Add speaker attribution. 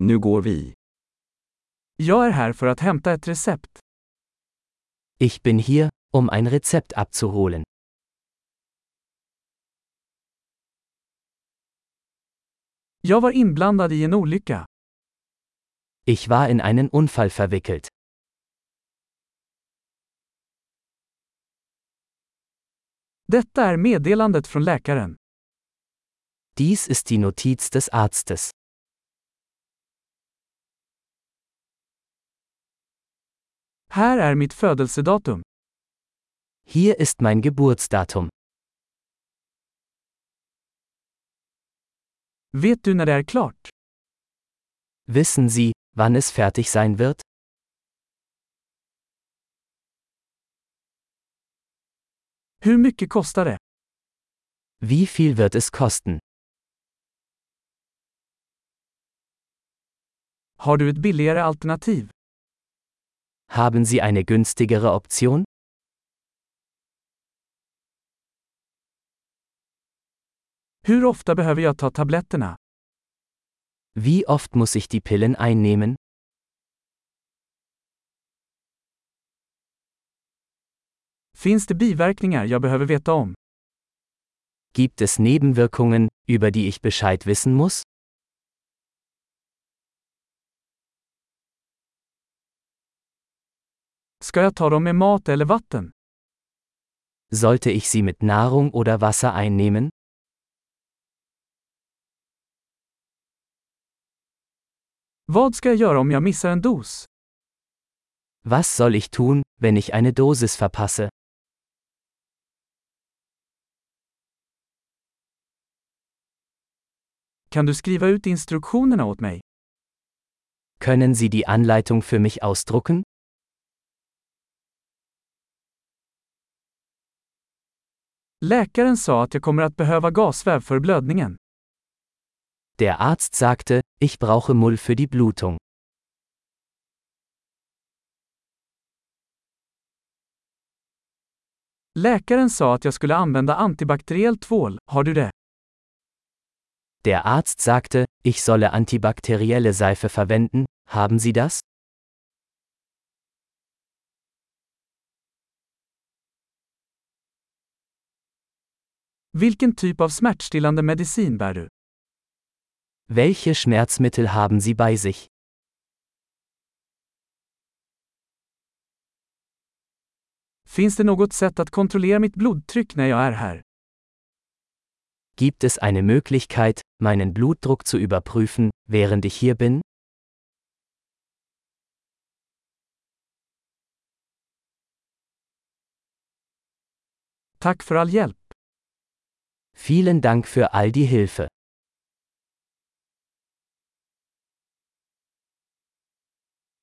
Speaker 1: Nu går vi.
Speaker 2: Jag är här för att hämta ett recept.
Speaker 3: Ich bin hier, um ein Rezept abzuholen.
Speaker 2: Jag var inblandad i en olycka.
Speaker 3: Ich war in einen Unfall verwickelt.
Speaker 2: Detta är meddelandet från läkaren.
Speaker 3: Dies ist die Notiz des Arztes.
Speaker 2: Här är mitt födelsedatum.
Speaker 3: Hier ist mein Geburtsdatum.
Speaker 2: Vet du när det är klart?
Speaker 3: Wissen Sie, wann es fertig sein wird?
Speaker 2: Hur mycket kostar det?
Speaker 3: Wie viel wird es kosten?
Speaker 2: Har du ett billigare alternativ?
Speaker 3: Haben Sie eine günstigere Option?
Speaker 2: Hur ofta behöver jag ta tabletterna?
Speaker 3: Wie oft muss ich die Pillen einnehmen?
Speaker 2: Finns det biverkningar jag behöver veta om?
Speaker 3: Gibt es Nebenwirkungen, über die ich Bescheid wissen muss?
Speaker 2: Ska jag ta dem med mat eller vatten?
Speaker 3: Sollte ich sie mit Nahrung oder Wasser einnehmen?
Speaker 2: Vad ska jag göra om jag missar en dos?
Speaker 3: Was soll ich tun, wenn ich eine Dosis verpasse?
Speaker 2: Kan du skriva ut instruktionerna åt mig?
Speaker 3: Können Sie die Anleitung für mich ausdrucken?
Speaker 2: Läkaren sa att jag kommer att behöva gasväv för blödningen.
Speaker 3: Der Arzt sagte, ich brauche Mull für die Blutung.
Speaker 2: Läkaren sa att jag skulle använda antibakteriell tvål, har du det?
Speaker 3: Der Arzt sagte, ich solle antibakterielle Seife verwenden, haben Sie das?
Speaker 2: Vilken typ av smärtstillande medicin bär du?
Speaker 3: Welche Schmerzmittel haben Sie bei sich?
Speaker 2: Finns det något sätt att kontrollera mitt blodtryck när jag är här?
Speaker 3: Gibt es eine Möglichkeit, meinen Blutdruck zu überprüfen, während ich hier bin?
Speaker 2: Tack för all hjälp.
Speaker 3: Vielen Dank für all die Hilfe.